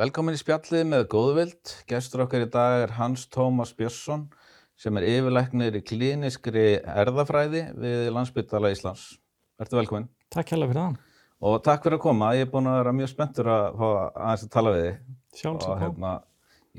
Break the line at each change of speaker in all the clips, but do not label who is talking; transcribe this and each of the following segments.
Velkomin í spjallið með góðvild. Gestur okkar í dag er Hans Tómas Björnsson sem er yfirlæknir í klíniskri erðafræði við Landsbytala Íslands. Ertu velkomin?
Takk hérlega fyrir það.
Og takk fyrir að koma. Ég er búin að vera mjög spenntur að fá aðeins að tala við þig.
Sjálfsagt.
Og
Og,
hérna,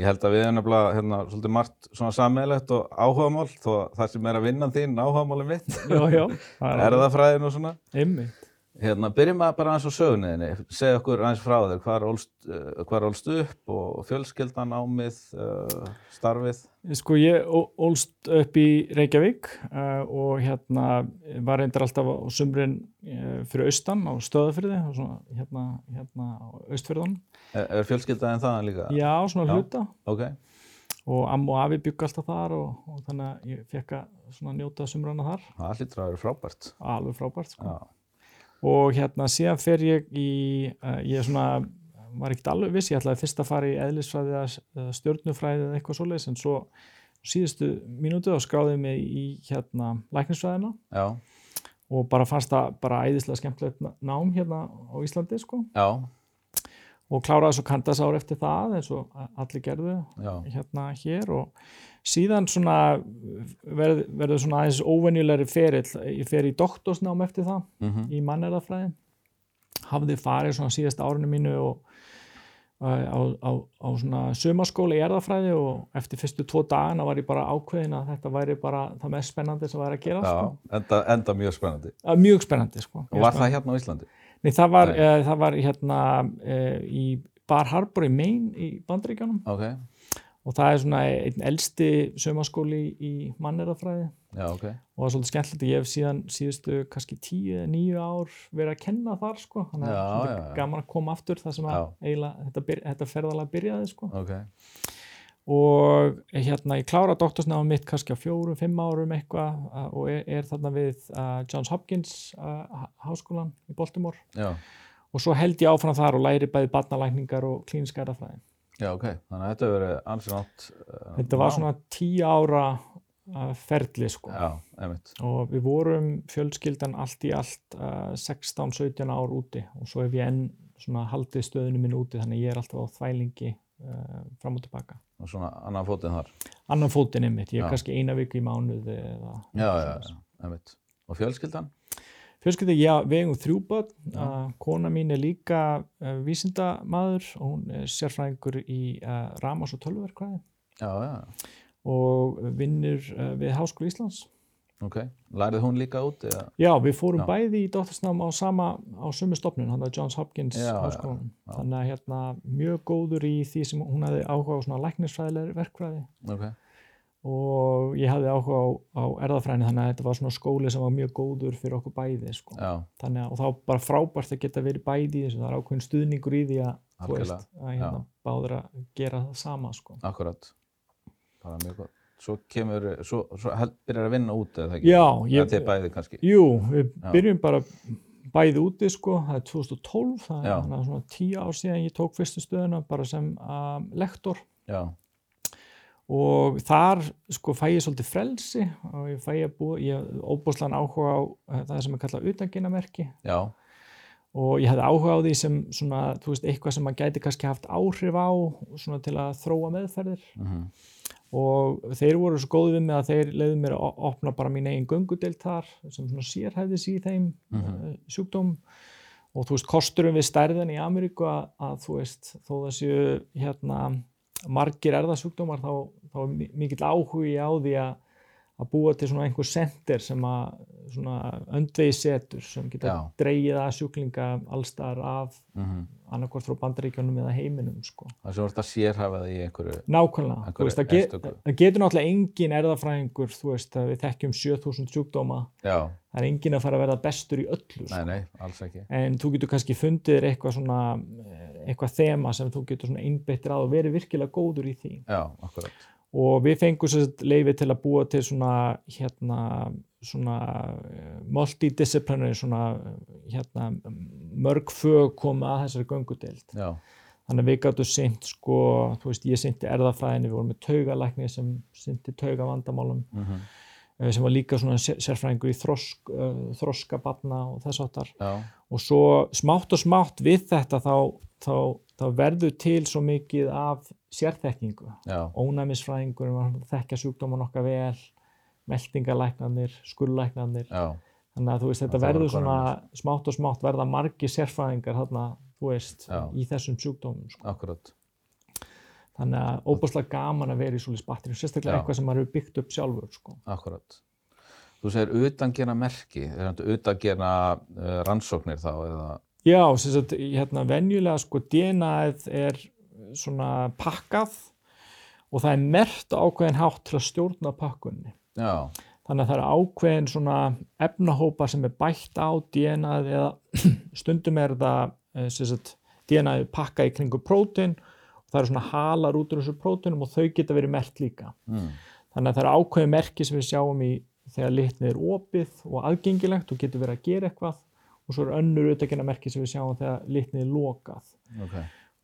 ég held að við erum nefnilega hérna, svolítið margt svona sammeilegt og áhugamál þó að það sem er að vinna þín áhugamálum mitt,
já, já. Það er
erðafræðin og svona.
ymmið.
Hérna, byrjum að bara aðeins á sögunniðinni, segja okkur aðeins frá þér, hvar ólst, uh, hvar ólst upp og fjölskyldan ámið, uh, starfið.
Sko ég ó- ólst upp í Reykjavík uh, og hérna var reyndar alltaf á sumrin uh, fyrir austan á stöðafyrði og svona hérna, hérna á austfyrðunum.
Er, er fjölskyldaðin þaðan líka?
Já, svona
Já.
hluta
Ok,
og amma og afi bygg alltaf þar og, og þannig að ég fekk að svona njóta sumrana þar.
það hlýtur að vera frábært.
Alveg frábært sko.
Já,
og hérna síðan fer ég í uh, ég svona var ekkert alveg viss, ég ætlaði fyrst að fara í eðlisfræði eða s- eða stjörnufræði eða eitthvað svoleiðis en svo síðustu mínútu þá skráði ég mig í hérna læknisfræðina
já,
og bara fannst það bara æðislega skemmtilegt na- nám hérna á Íslandi sko
já,
og kláraði svo kandasár eftir það eins og a- allir gerðu
já,
hérna hér og síðan svona verð, verður svona aðeins óvenjulegri ferill, ég fer í doktorsnám eftir það
mhm,
í mannerðafræði hafði farið svona síðast árinu mínu og uh, á, á, á svona sumaskóla í erðafræði og eftir fyrstu tvo dagana var ég bara ákveðin að þetta væri bara það mest spennandi sem væri að gera
já,
sko.
enda, enda mjög spennandi.
Að mjög spennandi sko.
Og
Mjög
var
spennandi.
það hérna á Íslandi?
Nei, það, var,
Nei.
uh, það var hérna uh, í Bar Harbor í Maine í Bandaríkjánum
Ok,
og það er svona einn elsti sumaskóli í mannerðafræði
já, ok,
og það er svolítið skemmtilegt að ég hef síðan síðustu kannski tíu eða níu ár verið að kenna þar sko þannig
Já,
að svolítið
já, já.
gaman að koma aftur þar sem að
Já.
eiginlega þetta, byr, þetta ferðalega byrjaði sko
ok,
og hérna ég klára doktorsnáðum mitt kannski á fjórum, fimm árum eitthvað uh, og er, er þarna við uh, Johns Hopkins uh, há- háskólan í Baltimore
já,
og svo held ég áfram þar og læri bæði barnalækningar og klíniska erafræði
já, ok. Þannig að þetta hefur verið ansið nátt. Uh,
þetta var svona tíu ára uh, ferli sko
Já, einmitt,
og við vorum fjölskyldan allt í allt uh, 16-17 ár úti og svo hef ég enn svona haldið stöðunum minn úti þannig að ég er alltaf á þvælingi uh, fram og tilbaka.
og svona annan fótinn þar.
Annan fótinn einmitt, ég
Já.
er kannski eina viku í mánuði eða
Já, já, já, einmitt. Og fjölskyldan?
Fjölskyldi, já, við eigum þrjú börn,
Já.
uh, kona mín er líka uh, vísindamaður og hún er sérfræðingur í uh, ramas og tölverkvæði
Já, já, já.
og vinnur uh, við Háskóla Íslands.
Ok, lærið hún líka út eða?
Já, við fórum
Já.
bæði í doktorsnám á sama, á sömu stopnun, hann að Johns Hopkins
Já, já,
háskólan.
já.
Þannig að hérna mjög góður í því sem hún hafði áhuga á svona læknisfræðilegri verkfræði
Ok,
og ég hafði áhuga á, á erðafræðinu þannig að þetta var svona skóli sem var mjög góður fyrir okkur bæði, sko.
já,
Þannig að og þá bara frábært að geta verið bæði í þessu, það er ákveðin stuðningur í því að, þú
Algjörlega,
veist, að hérna báður að gera það sama, sko.
akkurat. Bara mjög gott. Svo kemur, svo, svo held, byrjar að vinna út eða það ekki?
Já,
ég...
ég,
Það er bæðið kannski?
Jú, við
Já.
byrjum bara bæði úti sko, það er 2012, það
Já.
er þannig að svona tíu ár síðan ég tók fyrstu stöðuna bara sem um, lektor
Já,
og þar sko fæ ég svolítið frelsi og ég fæ ég að búa, ég hef óbúslan áhuga á eh, það sem er kallað utanginamerki
já,
og ég hefði áhuga á því sem svona, þú veist, eitthvað sem maður gæti kannski haft áhrif á svona til að þróa meðferðir
mhm,
og þeir voru svo góðið við mig að þeir leiði mér að o- opna bara mín eigin göngudelt þar sem svona sérhæfðis í þeim mm
Mhm.
sjúkdóm og þú veist kosturum við stærðan í Ameríku að, að þú veist þó það séu hérna margir erðasjúkdómar þá, þá er mi- mikill áhugi á því að að búa til svona einhver sendir sem að svona öndvegi setur sem geta
Já.
dreigið að sjúklinga allstar af
mhm.
annarkvort frá bandaríkjónum eða heiminum sko.
Það sem voru þetta sérhafað í einhverju,
Nákvæmlega,
Einhverju
þú veist, það, get,
einstöku.
það getur náttúrulega engin erðafræðingur, þú veist, að við þekkjum 7000 sjúkdóma,
já,
það er engin að fara að verða bestur í öllu,
nei,
sko.
nei, alls ekki.
en þú getur kannski fundið þér eitthvað svona, eh, eitthvað þema sem þú getur svona einbeittir að og verið virkilega góður í því.
Já, akkurat.
Og við fengum sér leifi til að búa til svona, hérna, svona eh, multidisciplinary, svona, eh, hérna, mörg fög koma að þessari göngudeild.
Já,
Þannig að við gáttum sint sko, þú veist, ég sinti erðafræðinni, við vorum með taugalækni sem sinti taugavandamálum.
mhm,
eh, sem var líka svona sér- sérfræðingur í þrosk, eh, þroska barna og þess áttar
já,
og svo smátt og smátt við þetta þá, þá, þá verður til svo mikið af sérþekkingu
já,
ónæmisfræðingur, þekkja sjúkdóman okkar vel, meldingalæknanir, skurðlæknanir,
já,
þannig að þú veist, þetta
Það
verður
var
svona smátt og smátt verða margi sérfræðingar þarna, þú veist,
Já.
í þessum sjúkdómum, sko.
akkurat.
Þannig að óbúslega gaman að vera í svolítið batterjum, sérstaklega
Já.
eitthvað sem maður hefur byggt upp sjálfur, sko.
Akkurat. Þú segir utangera merki, er þetta utangera uh, rannsóknir þá eða?
Já, sem sagt, hérna, venjulega, sko, DNA-ið er svona pakkað og það er mert á ákveðin hátt til að stjórna pakkunni.
Já,
Þannig að það eru ákveðin svona efnahópa sem er bætt á DNA-ið eða stundum er það eh, sem sagt, DNA-ið pakkað í kringu prótin og það eru svona halar út úr þessu prótinum og þau geta verið mert líka.
mm.
Þannig að það eru ákveðin merki sem við sjáum í þegar litnið er opið og aðgengilegt og getur verið að gera eitthvað og svo eru önnur auðvitaðkina merki sem við sjáum þegar litnið er lokað
ok,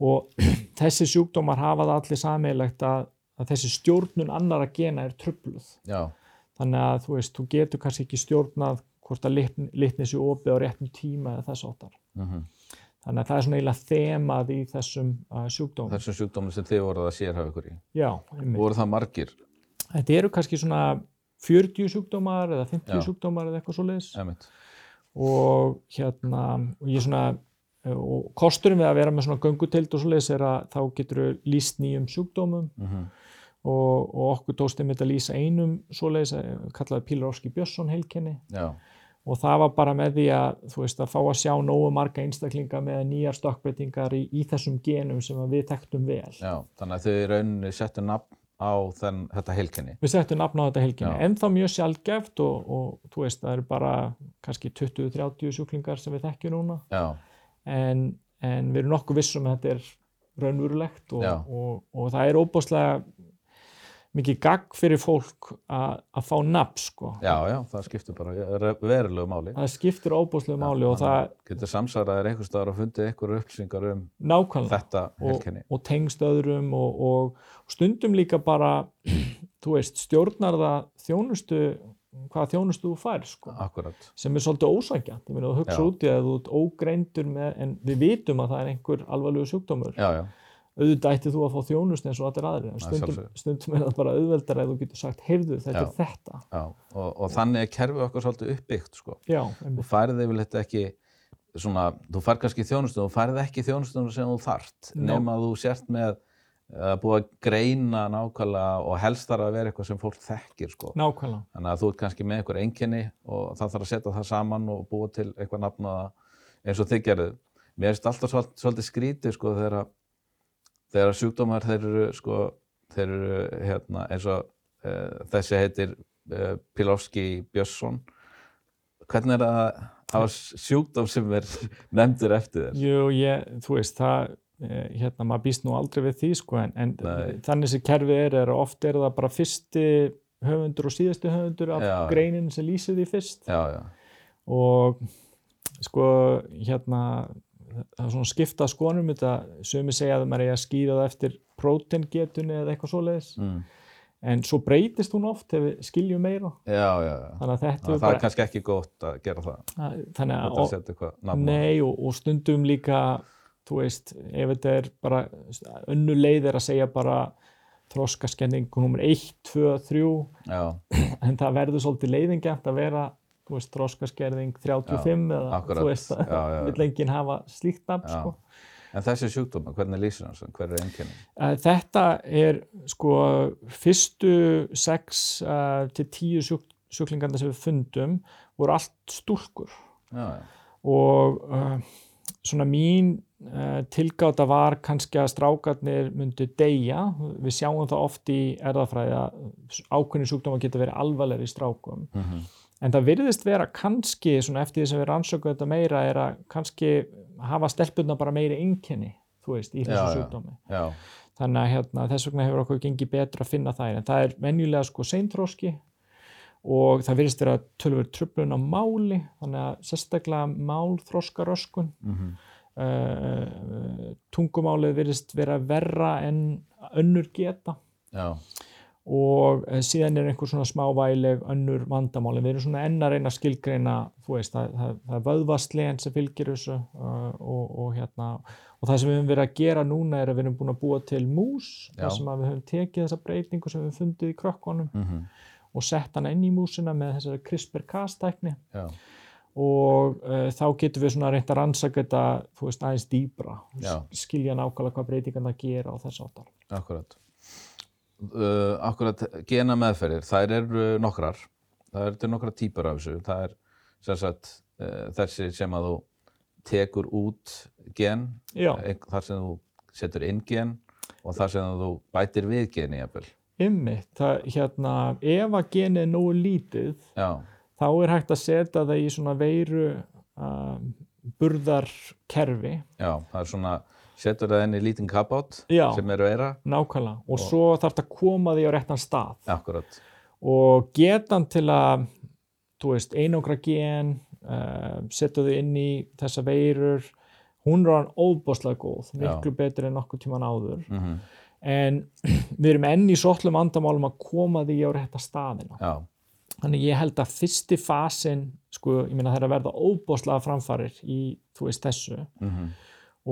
og þessi sjúkdómar hafa það allir sameigilegt að, að þessi stjórnun annara gena er trubluð
já,
þannig að þú veist, þú getur kannski ekki stjórnað hvort að litn, litni sér opið á réttum tíma eða þess áttar.
mm
Þannig að það er svona eiginlega þemað í þessum uh, sjúkdómum.
þessum sjúkdómum sem þið voruð að sérhafa ykkur í.
Já, einmitt.
Voru það margir?
Þetta eru kannski svona 40 sjúkdómar eða 50
Já.
sjúkdómar eða eitthvað svo leiðis
Emitt.
og hérna, og ég svona eh, og kosturinn við að vera með svona göngutild og svo leiðis er að þá getur líst nýjum sjúkdómum
Mm
og, og okkur tókst einmitt að lýsa einum svo leiðis, kallaði Pílar Óski Björnsson heilkenni
Já,
og það var bara með því að þú veist að fá að sjá nógu marga einstaklinga með nýjar stökkbreytingar í, í þessum genum sem að við þekktum vel
já, þannig að þau í rauninni settu nafn á þenn, þetta heilkenni.
við settum nafn á þetta helginni,
Já.
en þá mjög sjálfgeft og, og þú veist það eru bara kannski 20-30 sjúklingar sem við þekkjum núna
Já,
en, en við erum nokkuð vissum að þetta er raunverulegt og,
Já.
og, og, það er óbúslega mikið gagg fyrir fólk að, að fá nafn sko
já, já, það skiptir bara verulegu máli.
það skiptir óbúslega máli og það
Getur samsaraðir einhver staðar og fundið einhver upplýsingar um
nákvæmlega
þetta
og,
heilkenni.
og tengst öðrum og, og stundum líka bara þú veist, stjórnar það þjónustu, hvaða þjónustu þú fær sko,
Akkurat,
sem er svolítið ósækjant ég meina þú hugsa
Já.
út í að þú ert ógreindur með, en við vitum að það er einhver alvarlegu sjúkdómur,
já, já,
auðvitað ætti þú að fá þjónustu eins og allir aðrir, en
Að
stundum,
sjálfsögðu.
stundum er það bara auðveldar að þú getur sagt, heyrðu, þetta
Já.
er þetta
já. Og, og þannig er kerfið okkar svolítið uppbyggt, sko.
já,
þú
einmitt.
færði yfirleitt ekki svona, þú færð kannski þjónustu þú færð ekki þjónustunum sem þú þart
Nó.
nema þú sért með að búið að greina nákvæmlega og helst þarf að vera eitthvað sem fólk þekkir sko.
nákvæmlega
þannig að þú ert kannski með einhver einkenni og það þarf að setja það saman og búa til eitthvað nafn á það eins og þið gerðu mér finnst alltaf svol- svolítið skrítið sko, þegar, að- þegar að sjúkdómar þeir eru, sko, þeir eru hérna, eins og uh, þessi heitir uh, Pilovski Björnsson hvernig er það að hafa sjúkdóm sem er nefndur eftir þér
Jú, ég, þú veist, það, eh, hérna, maður býst nú aldrei við því, sko, en, en
Nei.
þannig sem kerfið er, er að oft er það bara fyrsti höfundur og síðasti höfundur af
Já.
greinin sem lýsir því fyrst
já, já,
og, sko, hérna, það er svona skipta skonum þetta, sumi segja að maður eigi að skýra það eftir prótengetunni eða eitthvað svoleiðis,
mm.
en svo breytist hún oft ef við skiljum meira,
já, já, já.
þannig að þetta
Það,
er
það er
bara,
kannski ekki gott að gera það
þannig að,
þetta að setja eitthvað nafn á
Nei og, og stundum líka þú veist, ef þetta er bara önnu leið er að segja bara þroskaskenning nummer 1, 2, 3
já,
en það verður svolítið leiðingjant að vera þú veist, þroskaskerðing 35 eða
akkurat.
þú veist,
Já, já, já.
vill enginn hafa slíkt nafn
Já.
sko.
en þessi sjúkdóma, hvernig lýsir hans hver er einkenni
Eh, Þetta er sko fyrstu 6 uh, til 10 sjúk, sjúklingarna sem við fundum voru allt stúlkur
já, já.
og uh, svona mín uh, tilgáta var kannski að strákarnir myndu deyja, við sjáum það oft í erðafræði að ákveðni sjúkdóma geta verið alvarlegri í strákum
Mhm.
en það virðist vera kannski svona eftir því sem við rannsökum þetta meira er að kannski hafa stelpurna bara meiri einkenni, þú veist, í
Já,
þessu
já.
sjúkdómi
Já,
þannig að hérna, þess vegna hefur okkur gengið betur að finna þær, en það er venjulega sko seinþróski og það virðist vera tölver tröflun á máli þannig að sérstaklega Eh, málþróskaröskun
mm
eh, uh, tungumálið virðist vera verra en önnur geta
já,
og eh, síðan er einhver svona smávæleg önnur vandamál en við erum svona enn að reyna að skilgreina þú veist, það, það, það er vöðvaslegin sem fylgir þessu uh, og, og hérna og það sem við höfum verið að gera núna er að við erum búin að búa til mús
Já.
þar sem að við höfum tekið þessa breytingu sem við höfum fundið í krökkunum
Mm
og sett hana inn í músina með þessari CRISPR-Cas tækni
Já,
og uh, þá getum við svona reynt að rannsaka þetta þú veist, aðeins dýbra og
Já.
s- skilja nákvæmlega hvað breytingarna gera og þess áttar.
akkurat. Uh, akkurat gena meðferðir, þær eru nokkrar. Það eru til nokkrar típar af þessu. Það er sem sagt uh, þessi sem að þú tekur út gen,
Já,
ein- þar sem þú setur inn gen og þar sem þú bætir við geni jafnvel.
ymmið, það hérna, ef að genið er nógu lítið
Já,
þá er hægt að setja það í svona veiru uh, burðarkerfi
já, það er svona, setur það inn í lítinn kappátt
Já.
sem eru eira.
nákvæmlega og svo þarf þetta að koma því á réttan stað
Akkurat,
og getan til að þú veist, einangra gen uh, setja þau inn í þessa veirur hún er hann óbáslega góð, miklu betur en nokkuð tíman áður
mm
en við erum enn í sótlum andamálum að koma því á rétta staðina
já,
þannig ég held að fyrsti fasin sko, ég meina það er að verða óbáslega framfarir í, þú veist, þessu
mm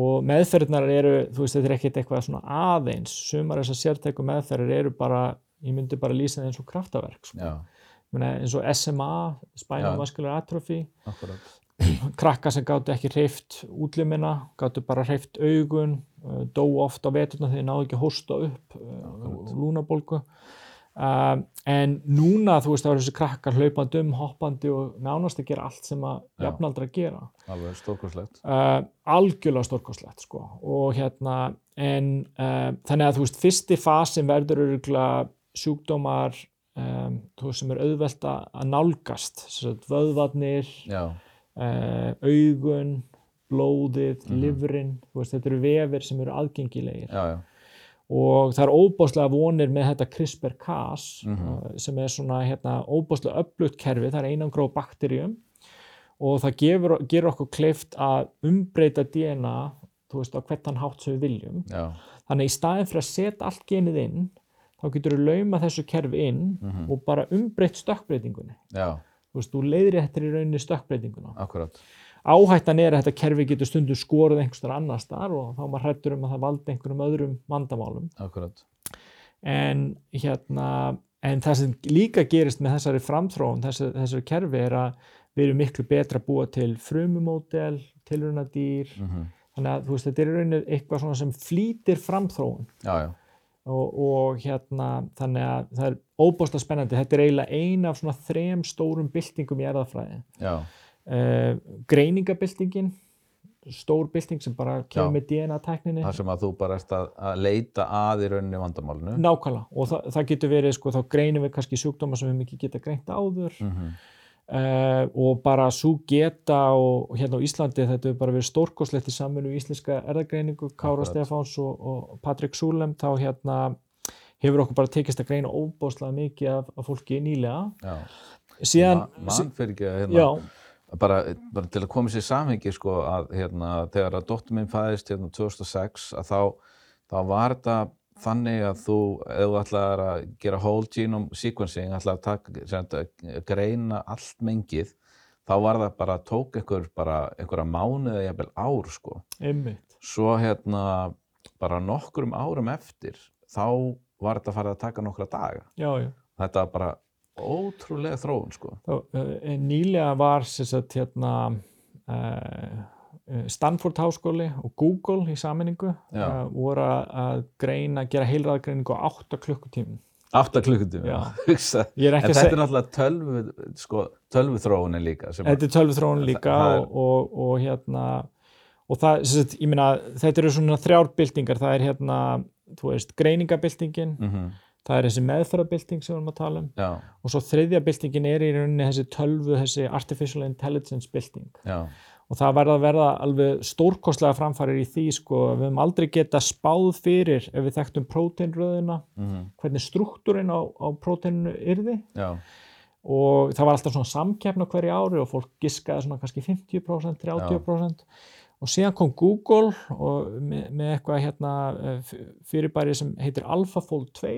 og meðferðnar eru, þú veist, þetta er ekkert eitthvað svona aðeins, sumar þessar sértæku meðferðir eru bara, ég myndi bara lýsa þeim eins og kraftaverk, sko
já,
Mena, eins og SMA, spinal
Já.
muscular atrophy,
akkurat,
krakka sem gáttu ekki hreift útlimina, gáttu bara hreift augun, uh, dóu oft á veturna þegar þeir náðu ekki að hósta upp
Akkurat.
uh, lúnabólgu. Uh, en núna, þú veist, það eru þessi krakkar hlaupandi um, hoppandi og nánast að gera allt sem að
Já.
jafnaldra gera.
alveg stórkurslegt.
Uh, algjörlega stórkostlegt, sko. Og hérna, en uh, þannig að, þú veist, fyrsti fasin verður örgulega sjúkdómar um, þú veist, sem er auðvelt að að nálgast, sem sagt, vöðvarnir,
Já,
uh, augun, blóðið,
Mhm.
lifrin, þú veist, þetta eru vefir sem eru aðgengilegir
já, já,
og það er óbáslega vonir með þetta CRISPR-Cas
Mhm.
uh, sem er svona hérna, óbáslega upplutt kerfi, það er einangrá bakterjum og það gefur, gerur okkur kleift að umbreyta DNA, þú veist, á hvertan hátt sem við viljum.
já,
Þannig í staðin fyrir að setja allt genið inn, þá getur við lauma þessu kerfi inn
Mhm.
og bara umbreytt stökkbreytingunni.
já,
Þú veist, þú leiðri þetta í rauninni stökkbreytinguna
akkurat,
áhættan er að þetta kerfi getur stundum skorið einhvers þar annar staðar og þá er maður hrættur um að það valdi einhverjum öðrum vandamálum
akkurat.
en hérna en það sem líka gerist með þessari framþróun þessu, þessu kerfi er að við erum miklu betra að búa til frumumódel, tilrunadýr
Mm
þannig að þú veist þetta er í rauninni eitthvað svona sem flýtir framþróun
Já, já,
og, og hérna þannig að það er óbósta spennandi þetta er eiginlega ein af svona þrem stórum byltingum í erðafræði
já,
uh, greiningabildingin stór bilding sem bara
Já.
kemur með DNA-tækninni
það sem að þú bara ert að, að leita að í rauninni vandamálinu.
nákvæmlega og það, það getur verið sko þá greinum við kannski sjúkdóma sem við mikið geta greint áður
Mm
uh, og bara svo geta og, og hérna á Íslandi þetta hefur bara verið stórkoslegt í saminu í íslenska erðagreiningu Kára
Akkurat.
Stefáns og, og Patrik Súlem þá hérna hefur okkur bara tekist að greina óbáslega mikið af, af fólki nýlega
Já,
síðan,
Ma- mann fyrir ekki að hérna,
já,
bara, bara til að koma sér í samhengi sko að hérna, þegar að dóttur minn fæðist hérna 2006 að þá, þá var þetta þannig að þú, ef þú ætlaðir að gera whole genome sequencing, ætlaðir að taka, sem sagt, að greina allt mengið, þá var það bara, tók einhver bara einhverja mánuði eða jafnvel ár sko.
einmitt
Svo hérna bara nokkrum árum eftir, þá var þetta farið að taka nokkra daga.
já, já
Þetta var bara ótrúlega þróun sko.
Þá, eh, Nýlega var sem sagt, hérna, eh, eh, Stanford háskóli og Google í sammenningu
Já.
eh, voru að- að greina, gera heilræðagreiningu á 8 klukkutímum.
8 klukkutími,
Já.
hugsa.
Ég er ekki
En þetta
að
er
segja,
náttúrulega tölvu, sko, tölvuþróunin líka sem að,
þetta er tölvþróun líka
það er-
og, og, og hérna, og það, sem sagt, ég meina, þetta eru svona þrjár byltingar, það er hérna, þú veist, greiningabyltingin,
mm
það er þessi meðferðabylting sem við erum að tala um
já,
og svo þriðja byltingin er í rauninni þessi tölvu, þessi artificial intelligence bylting.
já,
og það verða að verða alveg stórkostlega framfærir í því sko, við höfum aldrei geta spáð fyrir ef við þekktum próteinröðina,
mm
hvernig struktúrin á, á próteininu yrði
já,
og það var alltaf svona samkeppna hverju ári og fólk giskaði svona kannski 50%, 30% og síðan kom Google og með, með eitthvað hérna eh, f- fyrirbæri sem heitir AlphaFold 2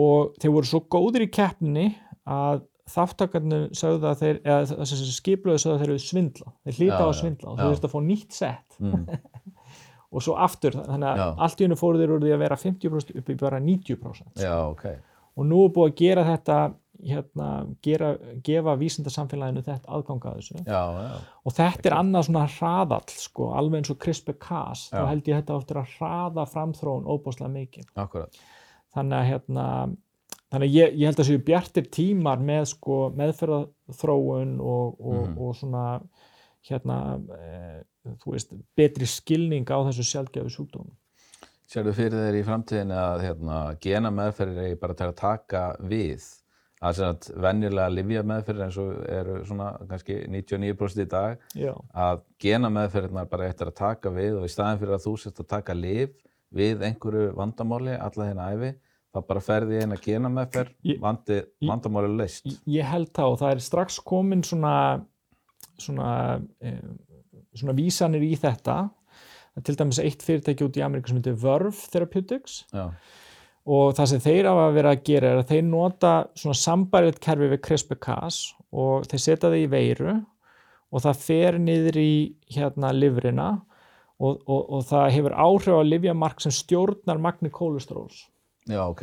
og þeir voru svo góðir í keppninni að þáttakarnir sögðu að þeir, eða þess að skiplaðu sögðu að þeir eru svindla, þeir
Já,
hlýta á að
já,
svindla og
já.
þú þurft að fá nýtt sett
Mm.
og svo aftur, þannig að
Já.
allt í hennu fóru þeir úr því að vera 50% upp í bara 90%
Já, ok.
og nú er búið að gera þetta hérna, gera, gefa vísindasamfélaginu þetta aðganga að þessu
Já, já.
og þetta er annað svona hraðall sko, alveg eins og CRISPR-Cas þá
Já.
held ég þetta áttur að hraða framþróun óbúslega mikið
Akkurat.
þannig að hérna þannig að ég, ég held að séu bjartir tímar með sko meðferðarþróun og, og,
Mhm.
og svona hérna e, þú veist, betri skilning á þessu sjálfgjöfu sjúkdómum
Sérðu fyrir þeir í framtíðinu að hérna, gena meðferðir eigi bara til að taka við að sem sagt venjulega livja meðferðir eins og eru svona kannski 99% í dag
Já,
að gena meðferðirnar bara eftir að taka við og í staðin fyrir að þú sérst að taka liv við einhverju vandamáli alla þeirna æfi þá bara ferði eina gena meðferð
Ég-
vandi,
ég-
vandamáli er leyst.
ég, ég held það og það er strax komin svona svona, e, svona vísanir í þetta Það er til dæmis eitt fyrirtæki út í Ameríku sem heitir Verve Therapeutics
Já,
og það sem þeir hafa verið að gera er að þeir nota svona sambærilegt kerfi við CRISPR-Cas og þeir setja það í veiru og það fer niður í hérna livrina og, og, og það hefur áhrif á livjamark sem stjórnar magni kólestróls
já, ok.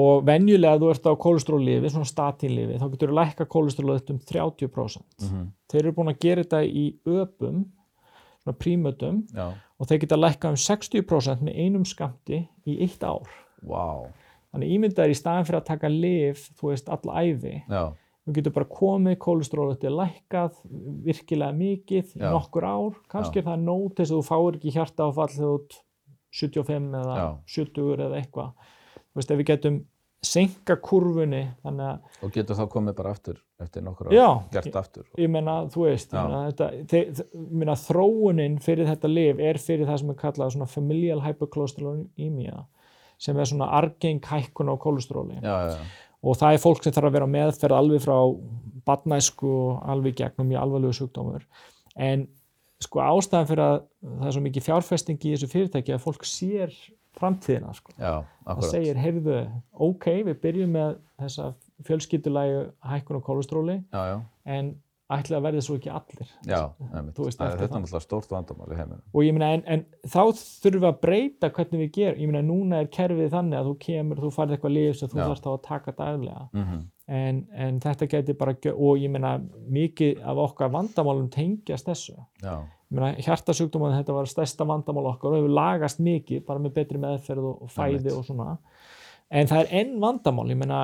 og venjulega þú ert á kólestrólifi, svona statínlifi, þá getur þú lækka kólestrólu þetta um 30%.
Mm
Þeir eru búin að gera þetta í öpum, svona prímötum
Já,
og þeir geta lækka um 60% með einum skamti í eitt ár.
wow.
Þannig ímyndaður í staðan fyrir að taka lif, þú veist, alla æfi,
Já,
þú getur bara komið, kólestróletti lækkað, virkilega mikið í
Já.
nokkur ár, kannski
Já.
er það nót þess að þú fáir ekki hjartaáfall þegar þú ert 75 eða
Já.
70 eða eitthvað. Þú veist, ef við getum senka kurfunni, þannig að,
og getur þá komið bara aftur eftir nokkur
já,
ár, gert aftur.
ég meina, þú veist,
Já.
ég meina, þetta, þe þe- ég meina, þróunin fyrir þetta lif er fyrir það sem er kallað svona familial hypercholesterolemia, sem er svona argeng hækkun á kolesteróli.
Já, já, já.
og það er fólk sem þarf að vera á meðferð alveg frá barnæsku og alveg í gegnum mjög alvarlegu sjúkdómur en sko ástæðan fyrir að það er svo mikið fjárfesting í þessu fyrirtæki að fólk sér framtíðina sko.
Já,
það
akkurat.
segir, heyrðu, ok, við byrjum með þessa fjölskyldulegu hækkun og kólestróli
Já, já.
en ætla að verði svo ekki allir
Já, einmitt.
Þú veist,
Það-
eftir
þetta
það.
er náttúrulega stórt vandamál í heiminum.
og ég meina, en, en þá þurfum við að breyta hvernig við gerum, ég meina, núna er kerfið þannig að þú kemur, þú farið eitthvað lífs og þú
Já.
þarfst þá að taka daglega
Mm
en, en þetta gæti bara gjö- og ég meina mikið af okkar vandamálum tengjast þessu ég
Já,
meina hjartasjúkdóman þetta var stærsta vandamál okkar og hefur lagast mikið bara með betri meðferð og, og fæði
Einmitt.
og svona en það er enn vandamál ég meina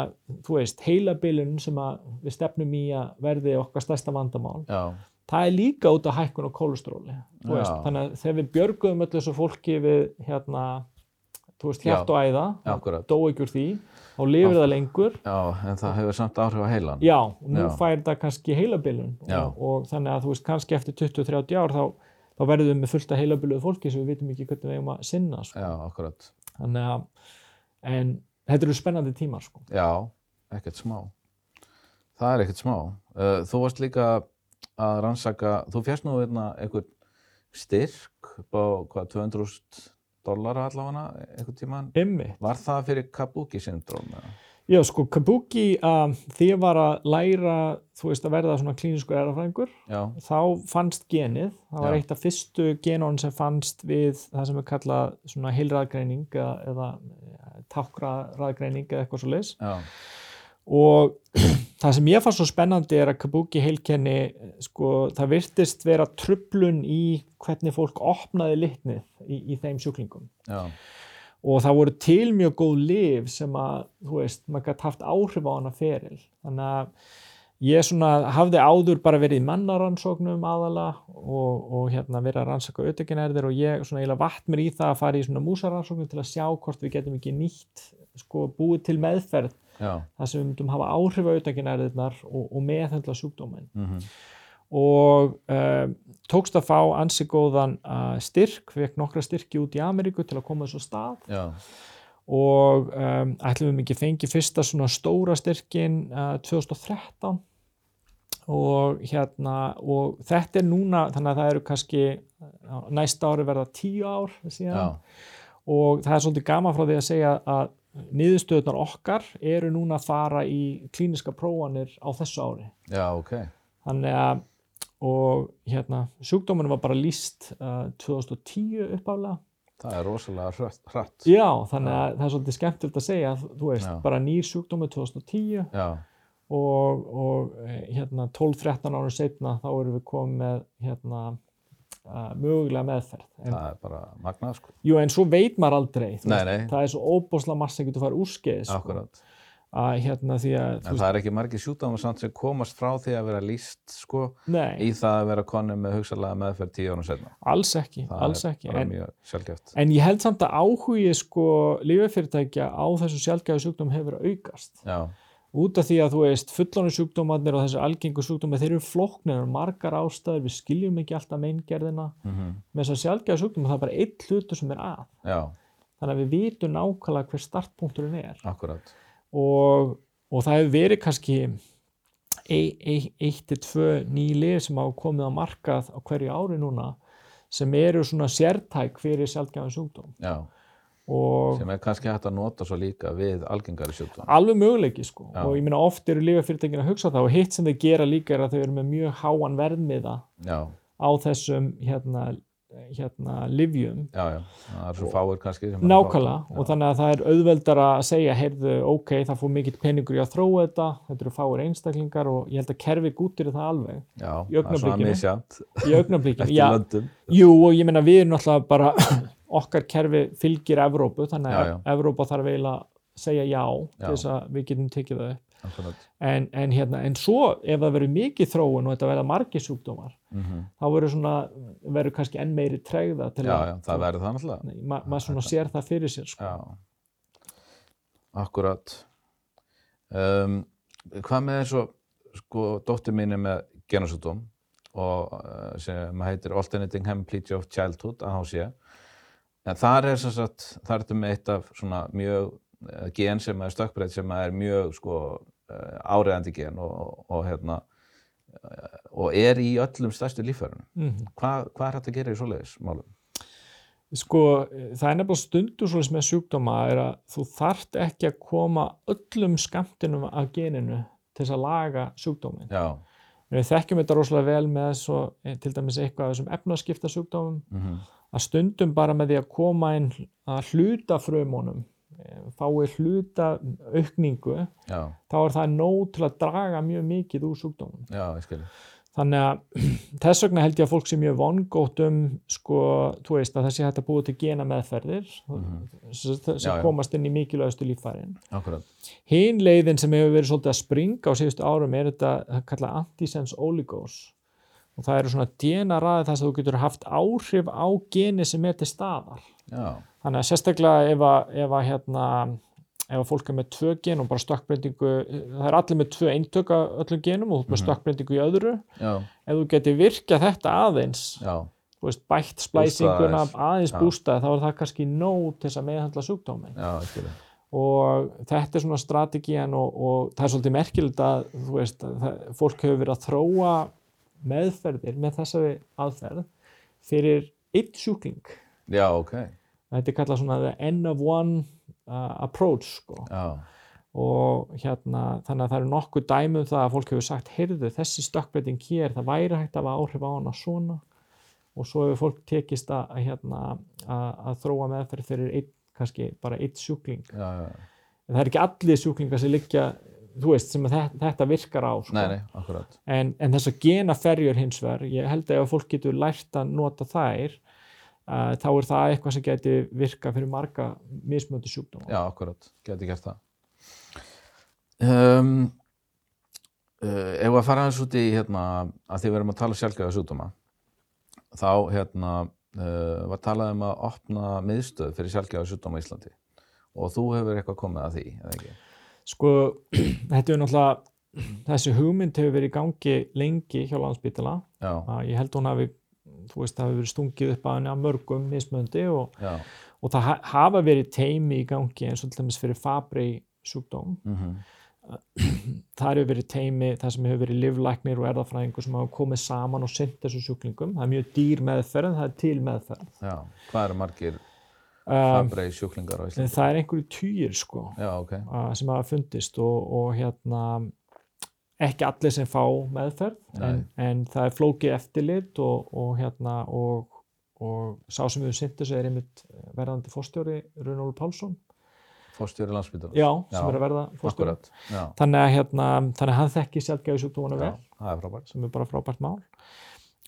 þú veist heilabilun sem að við stefnum í að verði okkar stærsta vandamál
já,
það er líka út af hækkun og kólestróli þú
Já.
veist, þannig að þegar við björguðum öllu þessu fólki við hérna þú veist
Já.
hjart og æða
já, akkurat.
dó ekki úr því þá lifir það lengur
Já, en það hefur samt áhrif á heilan.
Já, og nú
Já.
fær þetta kannski heilabilun
Já.
og, og þannig að þú veist kannski eftir 20-30 ár þá, þá verðum við með fullta heilabiluðu fólki sem við vitum ekki hvernig við eigum að sinna sko.
Já, akkurat.
þannig að en þetta eru spennandi tímar sko.
Já, ekkert smá. Það er ekkert smá. Uh, þú varst líka að rannsaka, þú fjast nú einna einhvern styrk á hvað, 200.000 dollara allavega einhvern tíman.
Emmi,
Var það fyrir Kabuki-syndróm? eða?
já sko Kabuki um, því ég var að læra þú veist að verða svona klínisku erafræðingur
Já,
þá fannst genið, það var
Já.
eitt af fyrstu genón sem fannst við það sem er kallað svona heilraðgreining eða, eða tákraðgreining eða eitthvað svo leis
já,
og það sem ég fannst svo spennandi er að Kabuki heilkenni sko, það virtist vera trublun í hvernig fólk opnaði litnið í, í þeim sjúklingum
já,
og það voru til mjög góð liv sem að, þú veist, maður gætt haft áhrif á hana feril þannig að ég svona hafði áður bara verið í mannarannsóknum aðala og, og hérna verið að rannsaka auðvitaðgerðir og ég svona eiginlega vatt mér í það að fara í svona músarannsóknum til að sjá hvort við getum ekki nýtt sko búið til meðferð
já.
það sem við myndum hafa áhrif á auðvitaðgerðirnar og, og meðhendla sjúkdóminn
Mm
og uh, tókst að fá ansi góðan uh, styrk, fekk nokkra styrki út í Ameríku til að koma þessu af stað
Já,
og um, ætlum við mikið fengi fyrsta svona stóra styrkin uh, 2013 og hérna og þetta er núna, þannig að það eru kannski á næsta ári verða tíu ár síðan
já,
og það er svolítið gaman frá því að segja að niðurstöðunar okkar eru núna að fara í klíniska prófanir á þessu ári.
já, ok.
Þannig að, og hérna, sjúkdóminn var bara líst uh, 2010 uppálega.
Það er rosalega hrött. hratt.
Já, þannig að það er svolítið skemmtilegt að segja, þú veist,
Já.
bara nýr sjúkdómið 2010
Já,
og, og eh, hérna 12-13 árum setna þá erum við komið með hérna uh, mögulega meðferð. En,
það er bara magnað, sko.
jú, en svo veit maður aldrei, þú
Nei, nei.
það er svo óbóðslega margt sem getur farið úrskeiðis. sko.
Akkurat.
Að hérna því að,
En það er ekki margir sjúkdómar samt sem komast frá því að vera líst, sko,
nei,
í það að vera konu með hugsalega meðferð tíu árum setna.
alls ekki,
Það
alls
er
ekki.
bara
En,
mjög sjálfgeft.
En ég held samt að áhugi sko lífefyrirtækja á þessum sjálfgæðu sjúkdóm hefur verið að aukast.
Já,
Út af því að þú veist, fullónu sjúkdómarnir og þessi algengu sjúkdómi, þeir eru flóknir, það eru margar ástæður, við skiljum ekki alltaf meingerðina.
mm
Með þessar sjálfgæðu sjúkdómi það er bara einn hlutur sem er að.
já,
Þannig að við vitum nákvæmlega hver startpunkturinn er.
akkurat.
Og, og það hefur verið kannski ei- ei- eitt til tvö nýlið sem hafa komið á markað á hverju ári núna sem eru svona sértæk fyrir sjálfgæðan sjúkdóm.
Já,
Og
sem er kannski hægt að nota svo líka við algengari sjúkdómar.
alveg möguleiki sko
Já.
og ég meina oft eru lífafyrirtækin að hugsa það og hitt sem þeir gera líka er að þau eru með mjög háan verðmiða
Já,
á þessum hérna, hérna livjum
já, já. Það er svo fáir kannski sem...
nákvæmlega
Já.
og þannig að það er auðveldara að segja heyrðu ok það fór mikill peningur í að þróa þetta þetta eru fáir einstaklingar og ég held að kerfi gútir það alveg
Já, það
í
er svona
augnablikinu.
misjant
í augnablikinu
eftir
Já,
löndum.
Jú, og ég meina við erum náttúrulega bara okkar kerfi fylgir Evrópu þannig að
Já, já.
Evrópa þarf eiginlega að segja já,
Já.
til þess að við getum tekið það upp
Akkurat.
en, en, hérna, en svo ef það verður mikið þróun og þetta verða margir sjúkdómar
Mm
þá verður svona, verður kannski enn meiri tregða til
Já,
að
já, það verður það náttúrulega.
Nei, ma maður svona sér það fyrir sér sko.
Já, akkurat. Um, hvað með eins og, sko, dóttir mín er með genasútum og uh, sem heitir Alternating Hemiplegia of Childhood, AHC. En þar er sem sagt, þar ertu með eitt af svona mjög uh, gen sem er stökkbreytt sem er mjög, sko, uh, áreðandi gen og, og, og hérna, uh, og er í öllum stærstu líffærunum.
Mhm.
Hvað, hvað er hægt að gera í svoleiðis málum?
sko, það er nefnilega stundu svolítið með sjúkdóma er að þú þarft ekki að koma öllum skamtinum af geninu til þess að laga sjúkdómin
Já,
við þekkjum þetta rosalega vel með svo, eh, til dæmis eitthvað af þessum efnaskipta sjúkdómum
mm
að stundum bara með því að koma inn að hluta frumunum fái hluta aukningu
já,
þá er það nóg til að draga mjög mikið úr sjúkdómum.
já, ég skilji.
Þannig að þess vegna held ég að fólk sé mjög vongótt um sko, þú veist, að það sé hægt að búið til gena meðferðir sem,
Mhm. Já, já.
sem komast inn í mikilvægastu líffærin.
Akkurat,
Hinn leiðin sem hefur verið svolítið að springa á síðustu árum er þetta það kalla antisense oligos og það eru svona DNA-raði þar sem þú getur haft áhrif á geni sem er til staðar.
já,
Þannig að sérstaklega ef að, ef að, hérna, ef að fólk er með tvö gen og bara stökkbreytingu, það er allir með tvö eintök af öllum genum og þú ert með stökkbreytingu í öðru,
já,
ef þú getur virkjað þetta aðeins,
já.
þú veist, bætt splæsinguna,
aðeins.
aðeins
Já.
bústað, þá er það kannski nóg til þess að meðhandla sjúkdómin.
Já, ég skilja.
Og þetta er svona strategían og, og það er svolítið merkilegt að, þú veist, að það, fólk hefur verið að þróa meðferðir með þessari aðferð fyrir eitt sjúkling.
Já, ok.
þetta er kallað svona the end of one uh, approach sko.
Já,
og hérna þannig að það eru nokkuð dæmi um það að fólk hefur sagt heyrðu þessi stökkbreyting hér það væri hægt að hafa áhrif á hana svona og svo hefur fólk tekist að, að, hérna, að, að þróa meðferð fyrir einn, kannski bara eitt sjúkling
já, já.
en það er ekki allir sjúklingar sem liggja þú veist sem að þetta, þetta virkar á sko.
Nei, nei, akkurat.
en, en þessar genaferjur hins vegar, ég held að ef fólk getur lært að nota þær uh, þá er það eitthvað sem geti virka fyrir marga mismöndu sjúkdóma.
Já, akkurat. Geti gert það. Um, uh, ef að fara aðeins út í, hérna, að því við erum að tala sjálfgæða sjúkdóma, þá, hérna, uh, var talað um að opna miðstöð fyrir sjálfgæða sjúkdóma í Íslandi. Og þú hefur eitthvað komið að því, eða ekki?
Sko, þetta er náttúrulega þessi hugmynd hefur verið í gangi lengi hjá landspítala.
Já,
Uh, ég held hún hafi, þú veist, hafi verið stungið upp að henni að mörgum mismöndi og,
já.
og það ha hafa verið teimi í gangi eins og til dæmis fyrir Fabri sjúkdóm.
Mm
þar hefur verið teimi, það sem hefur verið livlæknir og erðafræðingur sem hafa komið saman og sinnt þessu sjúklingum. Það er mjög dýr meðferð en það er til meðferð.
já. Hvað eru margir
um,
Fabreið sjúklingar á Íslandi.
en það er einhverju týjir sko
Já, ok.
uh, sem hafa fundist og, og hérna ekki allir sem fá meðferð en, en það er flókið eftirlit og, og hérna og, og sá sem við sinnt þessu er einmitt verðandi fórstjóri Runólu Pálsson
Fórstjóri landsbytum.
já, sem
Já,
er að verða fórstjóri
Akkurat. Já.
þannig að hérna, þannig að hann þekki sjálfgæðu sjúkdómana vel
Já, það er frábært.
sem er bara frábært mál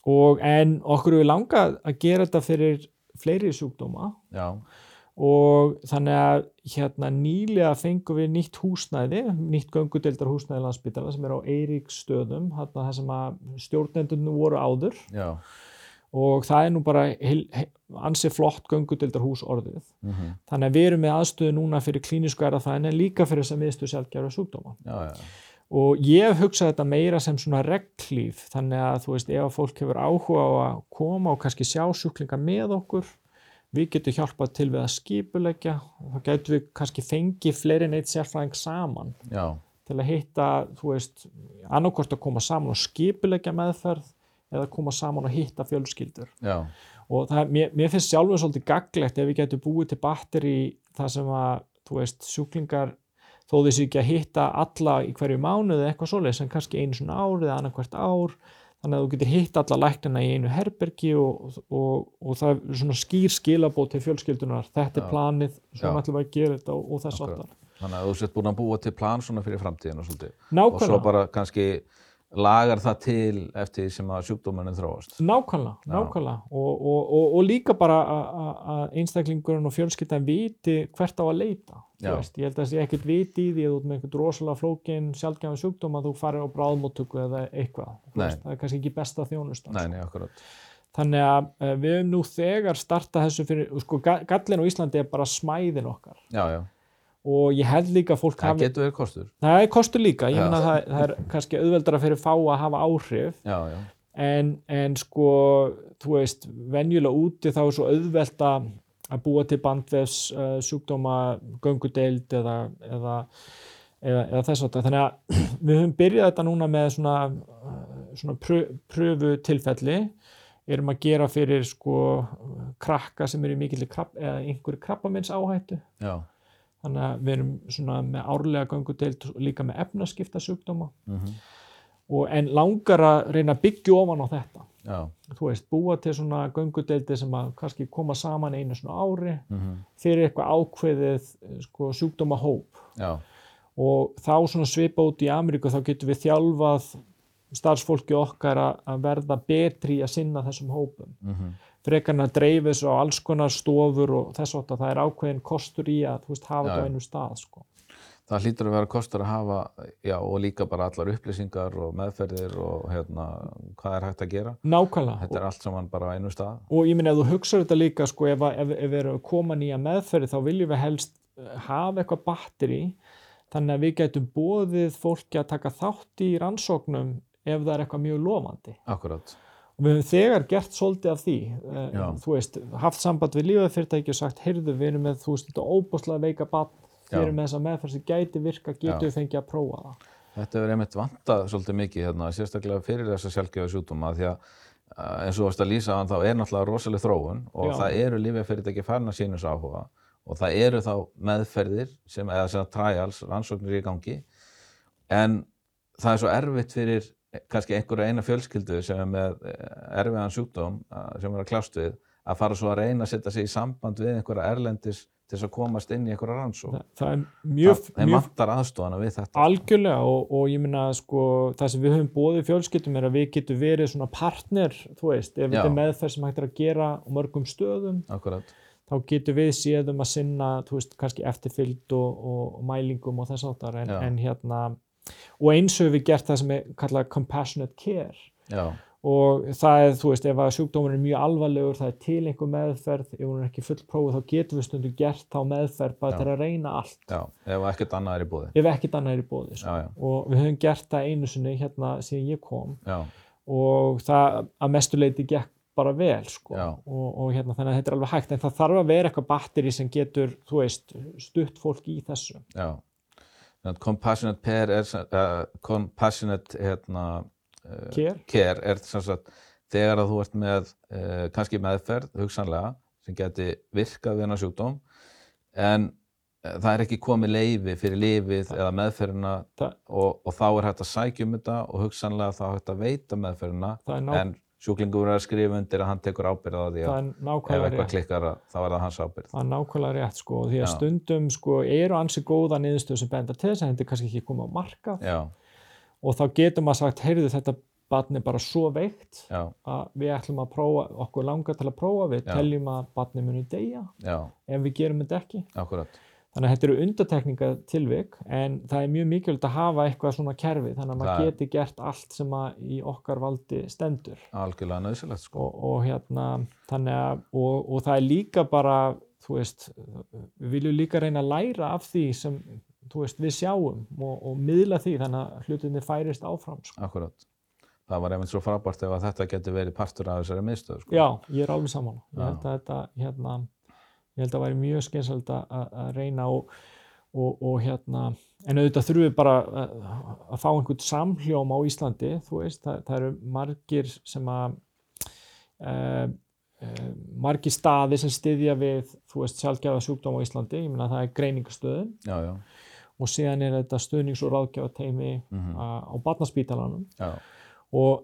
og en okkur við langa að gera þetta fyrir fleiri sjúkdóma
Já,
og þannig að hérna nýlega fengum við nýtt húsnæði, nýtt göngudeldar húsnæði landsbytala sem er á Eiríksstöðum, þarna það sem að stjórnendunum voru áður
já.
og það er nú bara heil, heil, ansi flott göngudeldar hús orðið.
Mm
Þannig að við erum með aðstöðu núna fyrir klínisku erðafræðin en líka fyrir þess að miðstu sjálfgjara sjúkdóma.
já, já.
Og ég hef hugsað þetta meira sem svona reglíf, þannig að þú veist ef að fólk hefur áhuga á að koma og kannski sjá sjúklinga með okkur, við getum hjálpað til við að skipuleggja og þá getum við kannski fengið fleiri neitt sérfræðing saman
Já,
til að hitta, þú veist, annarkort að koma saman og skipuleggja meðferð eða koma saman og hitta fjölskyldur.
já,
Og það, mér, mér finnst sjálfur svolítið gaglegt ef við getum búið til batteri þar sem að, þú veist, sjúklingar þó þessi ekki að hitta alla í hverju mánuði eða eitthvað svoleiðis en kannski einu svona ár eða annarkvært ár þannig að þú getur hitta alla læknina í einu herbergi og, og, og það er svona skýr skilabót til fjölskyldunar þetta
Já.
er planið,
Já.
svona ætlum við að gera þetta og, og þess
Akkurat.
aftar.
þannig að þú sett búin að búa til plan svona fyrir framtíðinu og svolítið. Og svo
Nákvæmlega,
bara kannski lagar það til eftir því sem að sjúkdómunum þróast.
nákvæmlega,
Já.
nákvæmlega og, og, og, og líka bara að- að- að einstaklingurinn og fjölskyldan viti hvert á að leita Þú
Já.
veist, ég held að það sé ekkert viti í því að þú ert með einhvern rosalega flókin sjálfgæðan sjúkdóm að þú farir á bráðmóttöku eða eitthvað, Þú
Nei.
veist, það er kannski ekki besta þjónustan
Nei,
sko.
nei, akkurat.
þannig að eh, við höfum nú þegar startað þessu fyrir, og sko ga- gallinn á Íslandi er bara smæðin okkar
Já, já.
og ég held líka að fólk
Það
hafi,
getur verið kostur.
það er kostur líka ég
Já.
meina það, það er kannski auðveldara fyrir fá að hafa áhrif
Já, já.
en, en sko, þú veist, venjulega úti þá er svo auðvelt að að búa til bandvefs uh, sjúkdóma, göngudeild eða, eða, eða, eða þess að þannig að við höfum byrjað þetta núna með svona, eh, svona prö, pröfu tilfelli erum að gera fyrir sko krakka sem eru í mikill krab, eða einhverju krabbamins áhættu
Já,
þannig að við erum svona með árlega göngudeild og líka með efnaskipta sjúkdóma
mm
og en langar að reyna að byggja ofan á þetta
já.
þú veist, búa til svona göngudeldi sem að kannski koma saman einu svona ári
Mm
fyrir eitthvað ákveðið eh, sko, sjúkdóma hóp
Já,
og þá svona svipa út í Ameríku þá getum við þjálfað starfsfólki okkar að- að verða betri í að sinna þessum hópum.
mm
Frekarna dreifið svo á alls konar stofur og þess að það er ákveðin kostur í að þú veist,
Já,
hafa þetta á
já.
einu stað. Sko.
það hlýtur að vera kostur að hafa, já, og líka bara allar upplýsingar og meðferðir og hérna, hvað er hægt að gera.
Nákvæmlega.
Þetta er allt saman bara á einu stað.
og ég minna ef þú hugsar þetta líka sko, ef, að- ef, ef við erum að koma nýja meðferði þá viljum við helst eh, hafa eitthvað batteri þannig að við gætum bóðið fólki að taka þátt í rannsóknum ef það er eitthvað mjög lofandi
Akkurat.
og við höfum þegar gert svolítið af því eh,
Já.
þú veist, haft samband við lífafyrirtæki og sagt, heyrðu, við erum með þú veist, þetta óbúslega veika bann
Já.
við erum með þessa meðferð sem gæti virka, getum
Já.
við fengið að prófa það
Þetta verður einmitt vantað svolítið mikið hérna, sérstaklega fyrir þessa sjálfgjöðu sjúkdóma því að eh, eins og þú varst að lýsa hann þá er náttúrulega rosaleg þróun og
Já.
það eru lífjafyrirtæki farin að sínus áhuga og það eru þá meðferðir sem, eða sem sagt trials, rannsóknir í gangi en það er svo erfitt fyrir eh, kannski einhverja eina fjölskyldu sem er með eh, erfiðan sjúkdóm eh, sem er að klást við að fara svo að reyna að setja sig í samband við einhverja erlendis til þess að komast inn í einhverja rannsókn.
það, það er
Það,
mjög,
þeim
mjög
vantar aðstofana við þetta.
Algjörlega og, og ég minna sko það sem við höfum bóðið fjölskyldum er að við getum verið svona partner, þú veist, ef
Já.
þetta er meðferð sem hægt er að gera á mörgum stöðum
Akkurat.
þá getum við séð um að sinna, þú veist, kannski eftirfylgd og, og, og mælingum og þess áttar en,
Já.
en hérna og eins höfum við gert það sem er kallað compassionate care
Já.
og það er, þú veist, ef að sjúkdómur er mjög alvarlegur, það er til einhver meðferð, ef hún er ekki fullprófuð þá getum við stundum gert þá meðferð
Já.
bara til að reyna allt
Já, ef ekkert annað er í búði.
ef ekkert annað er í bóði sko.
Já, já.
og við höfum gert það einu sinni hérna síðan ég kom
Já,
og það að mestu leiti gekk bara vel sko.
Já.
og, og hérna, þannig að þetta er alveg hægt en það þarf að vera eitthvað batteri sem getur þú veist, stutt fólk í þessu
já. Þannig að compassionate pair er, uh, compassionate hérna, uh,
Care.
care er sem sagt þegar að þú ert með uh, kannski eh, meðferð, hugsanlega, sem geti virkað við hennar sjúkdóm en eh, það er ekki komið leifi fyrir lifið eða meðferðina
Það-
og, og þá er hægt að sækja um þetta og hugsanlega þá er hægt að veita meðferðina
það er, ná,
en sjúklingur er að skrifa undir að hann tekur ábyrð á því
það
að
er
ef
nákvæmlega
eitthvað
rétt.
klikkar að- þá er það hans ábyrð.
Það er nákvæmlega rétt sko, því að
Já.
stundum sko eru ansi góða niðurstöð sem benda til þess að þetta er kannski ekki komið á markað
Já,
og þá getur maður sagt, heyrðu þetta barn er bara svo veikt
já,
að við ætlum að prófa, okkur langar til að prófa, við
Já.
teljum að barni muni deyja
já,
ef við gerum þetta ekki.
akkurat.
Þannig að þetta eru undatekningatilvik en það er mjög mikilvægt að hafa eitthvað svona kerfi þannig að
Það
maður
er-
geti gert allt sem að í okkar valdi stendur
Algjörlega nöðsilegt sko.
og, og hérna þannig að og, og það er líka bara þú veist, við viljum líka reyna að læra af því sem þú veist, við sjáum og, og miðla því þannig að hlutinni færist áfram sko.
Akkurat. Það var einmitt svo frábært ef að þetta geti verið partur af þessari miðstöðu sko.
Já, ég er alveg sammála. Ég
Já.
held að þetta, hérna, ég held að væri mjög skynsalegt að, að- að reyna og, og, og hérna, en auðvitað þurfum við bara að, að fá einhvern samhljóm á Íslandi, þú veist, það, það eru margir sem að, uh, margir staði sem styðja við, þú veist, sjálfgjafa sjúkdóm á Íslandi, ég meina það er greiningastöðum
Já, já,
og síðan er þetta stuðnings- og ráðgjafa teimi
mhm,
á barnaspítalanum
já,
og,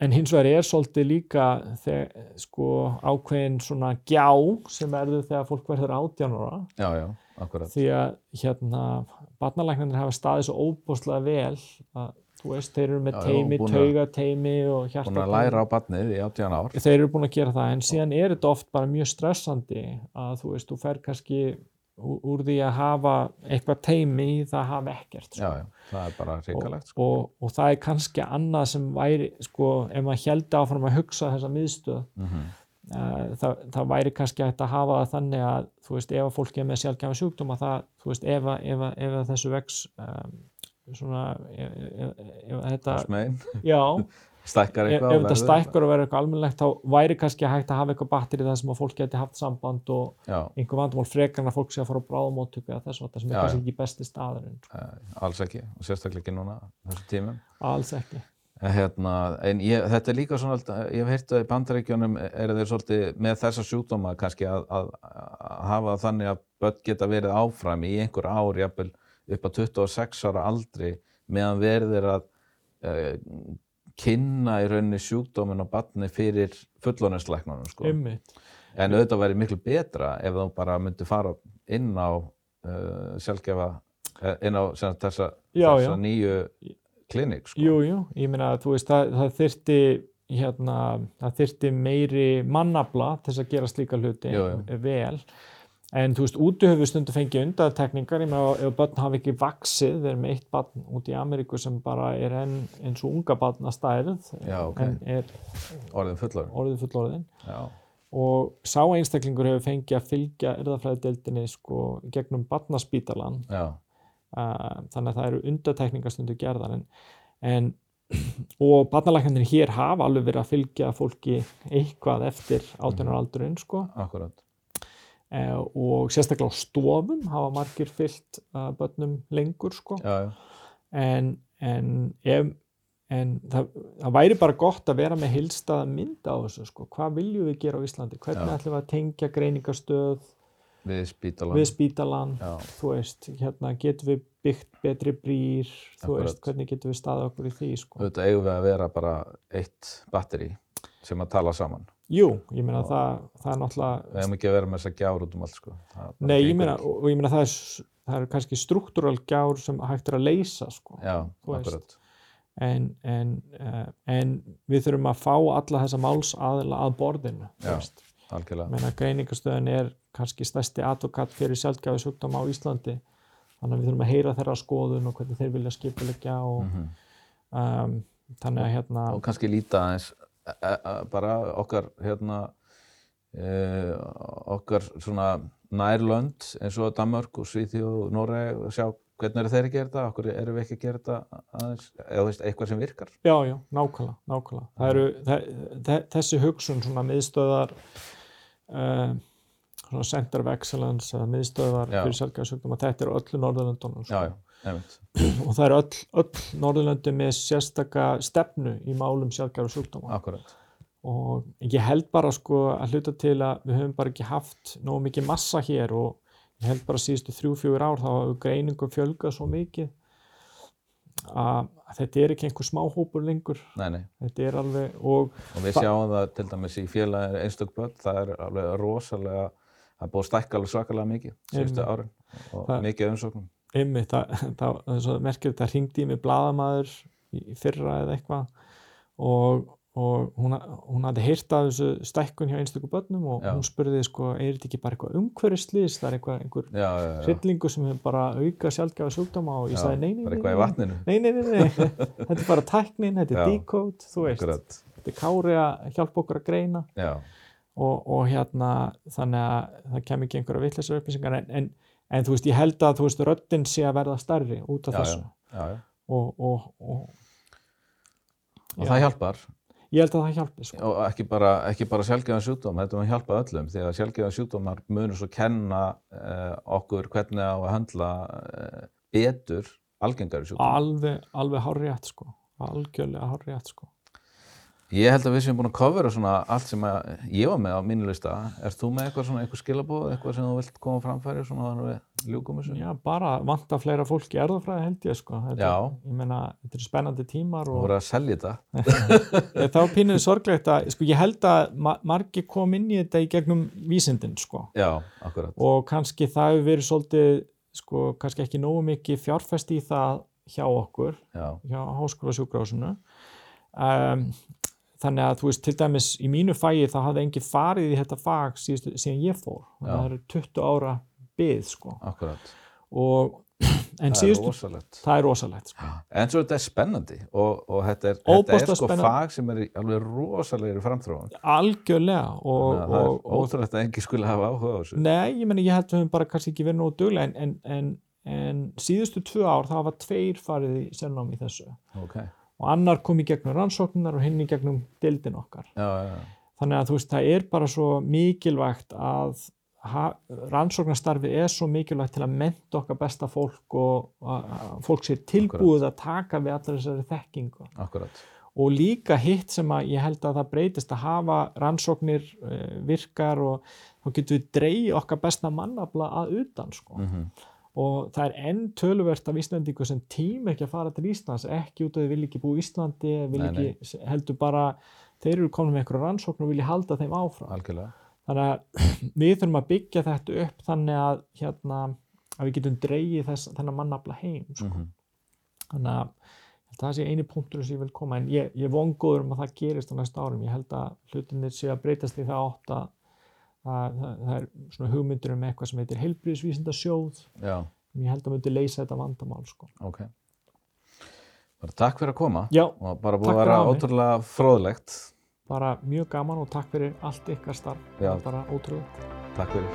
en hins vegar er svolítið líka þeg, sko, ákveðin svona gjá sem erður þegar fólk verður 18 ára
já, já, akkurat.
því að hérna barnalæknarnir hafa staðið svo óbúslega vel að þú veist, þeir eru með
Já, já,
teimi,
búin að-
taugateimi og hjarta
Búin að læra á barnið í 18 ár.
þeir eru búin að gera það en síðan er þetta oft bara mjög stressandi að þú veist, þú fer kannski úr úr því að hafa eitthvað teimi í það að hafa ekkert sko
Já, já, það er bara hrikalegt sko.
og, og það er kannski annað sem væri, sko, ef maður held áfram að hugsa þessa miðstöð,
Mhm,
uh, það, það væri kannski hægt að hafa það þannig að, þú veist, ef að fólk er með sjálfgjáðan sjúkdóma, það, þú veist, ef að, ef að, ef að þessu vex, um, svona, e, ef, ef, ef að þetta,
Hans megin,
já,
stækkar
ef,
eitthvað. og
ef þetta
verður-
stækkar og verður eitthvað almennlegt, þá væri kannski hægt að hafa eitthvað batteri þar sem að fólk geti haft samband og
Já,
einhver vandamál frekar en að fólk sé að fara á bráðumóttöku eða þess að það sem er
Já, já.
kannski ekki besti staðurinn, sko.
eh, alls ekki, og sérstaklega ekki núna, á þessum tímum.
alls ekki.
En Hérna, en ég, þetta er líka svona, alltaf- ég hef heyrt að í bandaríkjunum eru þeir svolítið með þessa sjúkdóma kannski að, að, að hafa það þannig að börn geta verið áfram í einhver ár, jafnvel upp að 26 ára aldri meðan verið er að uh, kynna í rauninni sjúkdómin á barni fyrir fullónuslæknunum sko.
Einmitt.
En auðvitað væri miklu betra ef þú bara myndi fara inn á uh, sjálfgefa, eh, inn á sem sagt þessa,
Já,
þessa
já.
nýju klinik sko.
Jú, jú, ég meina að þú veist það, það þyrti hérna, það þyrti meiri mannafla til þess að gera slíka hluti
Jú, jú.
vel en þú veist, úti höfum við stundu fengið undatekningar, ég meina ef börn hafa ekki vaksið, við erum með eitt barn út í Ameríku sem bara er enn eins og unga barn að stærð
Já, ok.
en er
orðin fullorðin.
orðið fullorðin
Já,
og sá einstaklingur hefur fengið að fylgja erðafræðideildinni sko í gegnum barnaspítalan
já,
uh, þannig að það eru undatekningastundu gerðar en, en og barnalæknarnir hér hafa alveg verið að fylgja fólki eitthvað eftir 18 ára aldurinn sko
akkurat.
uh, og sérstaklega á stofum hafa margir fyllt uh, börnum lengur sko
Já, já,
en, en ef En það, það væri bara gott að vera með heilstaða mynda á þessu, sko. Hvað viljum við gera á Íslandi? Hvernig
Já.
ætlum við að tengja greiningastöð
við spítalan.
við spítalan?
Já,
þú veist, hérna getum við byggt betri brýr, þú
Akkurat.
veist, hvernig getum við staðið okkur í því, sko.
auðvitað eigum við að vera bara eitt batteri sem að tala saman.
Jú, ég meina það, það er náttúrulega,
Við hefum ekki að vera með þess að gjár út um allt, sko. Það bara
nei, ég
gengur
meina,
ekki.
og og ég meina það er, s- það er kannski struktúral gjár sem hægt er að leysa, sko.
Já,
Þú veist.
akkurat.
En, en, uh, en við þurfum að fá alla þessa máls aðila að borðinu, þú
Já.
veist. Ég
Algjörlega.
meina greiningastöðin er kannski stærsti advokat fyrir sjálfgæfi sjúkdóma á Íslandi, þannig að við þurfum að heyra þeirra skoðun og hvernig þeir vilja skipulegja og
Mhm.
um, þannig að hérna...
Og kannski líta aðeins e- e- e- bara okkar, hérna, e, okkar svona nærlönd eins og Danmörk og Svíþjóð og Noreg og sjá hvernig eru þeir að gera þetta, okkur erum við ekki að gera þetta aðeins, eða þú veist, eitthvað sem virkar.
Já, já, nákvæmlega, nákvæmlega. Það eru, þe- þe- þessi hugsun svona miðstöðar, uh, svona center of excellence eða miðstöðar
Já.
fyrir sjálfgæðasögnum og þetta er á öllu Norðurlöndunum.
Já,
sko.
já, nefnt.
Og það eru öll, öll Norðurlöndum með sérstaka stefnu í málum sjálfgæðasögnum.
Akkurat.
og ég held bara sko að hluta til að við höfum bara ekki haft nógu mikið massa hér og ég held bara síðustu þrjú-fjögur ár þá hafa greiningum fjölgað svo mikið að að þetta er ekki einhver smáhópur lengur
Nei, nei.
þetta er alveg og
Og við sjáum það til dæmis í félagir einstök börn, það er alveg rosalega, það er búið að stækka alveg svakalega mikið síðustu
Einmitt.
árin og
Það-
mikið umsóknum.
Einmitt, það, það, það er svo merkilegt, það hringdi í mig bladamaður í í fyrra eða eitthvað og, og hún, hún hafði heyrt af þessu stækkun hjá einstöku börnum og
Já.
hún spurði sko, er þetta ekki bara eitthvað umhverfislýs, það er eitthvað einhver
Já, já, já.
hryllingu sem hefur bara auka sjálfgjáða sjúkdóma og ég
Já,
sagði nei, nei,
Bara
nei,
eitthvað í
nei,
vatninu.
nei, nei, nei, nei. þetta er bara tæknin, þetta
Já.
er decode, þú veist,
Akkurat.
þetta er kári að hjálpa okkur að greina
Já,
og, og hérna þannig að það kem ekki einhverja vitleysar upplýsingar en, en, en þú veist, ég held að þú veist, röddinn sé að verða starri út af
Já,
þessu
já, já.
Og, og, og
Og
Já.
það hjálpar.
ég held að það hjálpi sko.
og ekki bara, ekki bara sjálfgeðan sjúkdóm, þetta mun hjálpa öllum því að sjálfgeðan sjúkdómar munur svo kenna uh, okkur hvernig á að höndla uh, betur algengari sjúkdómar.
alveg, alveg hárrétt sko. algjörlega hárrétt sko.
Ég held að við séum búin að covera svona allt sem að ég var með á mínu lista. Erst þú með eitthvað svona, eitthvað skilabóð, eitthvað sem þú vilt koma á framfæri svona þannig við ljúkum þessu?
Já, bara vanta fleira fólk í erðafræði held ég sko. þetta,
Já.
ég meina, þetta eru spennandi tímar
Þú
og
voru að selja þetta.
ég, þá pínuði sorglegt að sko, ég held að ma margi kom inn í þetta í gegnum vísindin sko.
Já, akkurat.
og kannski það hefur verið svolítið sko, kannski ekki nógu mikið fjárfest í það hjá okkur
Já,
hjá háskóla sjúkrásinu um, þannig að þú veist til dæmis í mínu fæi þá hafði engin farið í þetta fag síðustu, síðan ég fór
Já.
það eru 20 ára byð sko
akkurat.
og en
það
síðustu
er rosalegt.
það er rosalegt sko.
En svo þetta er spennandi og, og þetta er, þetta er
Óbóðslega
sko
spennandi.
fag sem er í alveg rosalegri framþróun.
algjörlega og,
Þannig að
og,
það er
og,
ótrúlegt að enginn skulle hafa áhuga á þessu.
nei ég meni ég held að við höfum bara kannski ekki verið nógu duglega en, en, en, en síðustu tvö ár það var tveir farið í sennám í þessu
Ok, já,
og annar kom í gegnum rannsóknar og hinn í gegnum dildin okkar
já, já.
þannig að þú veist, það er bara svo mikilvægt að ha- rannsóknarstarfið er svo mikilvægt til að mennta okkar besta fólk og að að fólk sé tilbúið að taka við allar þessari þekkingu
akkurat.
og líka hitt sem að ég held að það breytist að hafa rannsóknir eh, virkar og þá getum við dreyi okkar besta mannafla að utan sko
Mm
og það er enn töluvert af Íslandingu sem tím ekki að fara til Íslands ekki út af því vilja ekki búa í Íslandi vilja
Nei, nei.
ekki, heldur bara þeir eru komin með einhverju rannsókn og vilja halda þeim áfram
Algjörlega.
þannig að við þurfum að byggja þetta upp þannig að hérna að við getum dreigið þess, þennan mannafla heim sko.
Mm
þannig að ég held að það sé eini punktur sem ég vil koma en ég, ég er vongóður um að það gerist á næsta árum ég held að hlutinir sé að breytast í það átt að, að, að það er svona hugmyndur um eitthvað sem heitir heilbriðsvísindasjóð
Já,
en ég held að myndi leysa þetta vandamál sko.
ok. Bara takk fyrir að koma.
Já,
Og bara búið að
Takk fyrir
vera
að hafa mig.
ótrúlega fróðlegt.
bara mjög gaman og takk fyrir allt ykkar starf,
Já.
bara ótrúið
Takk fyrir.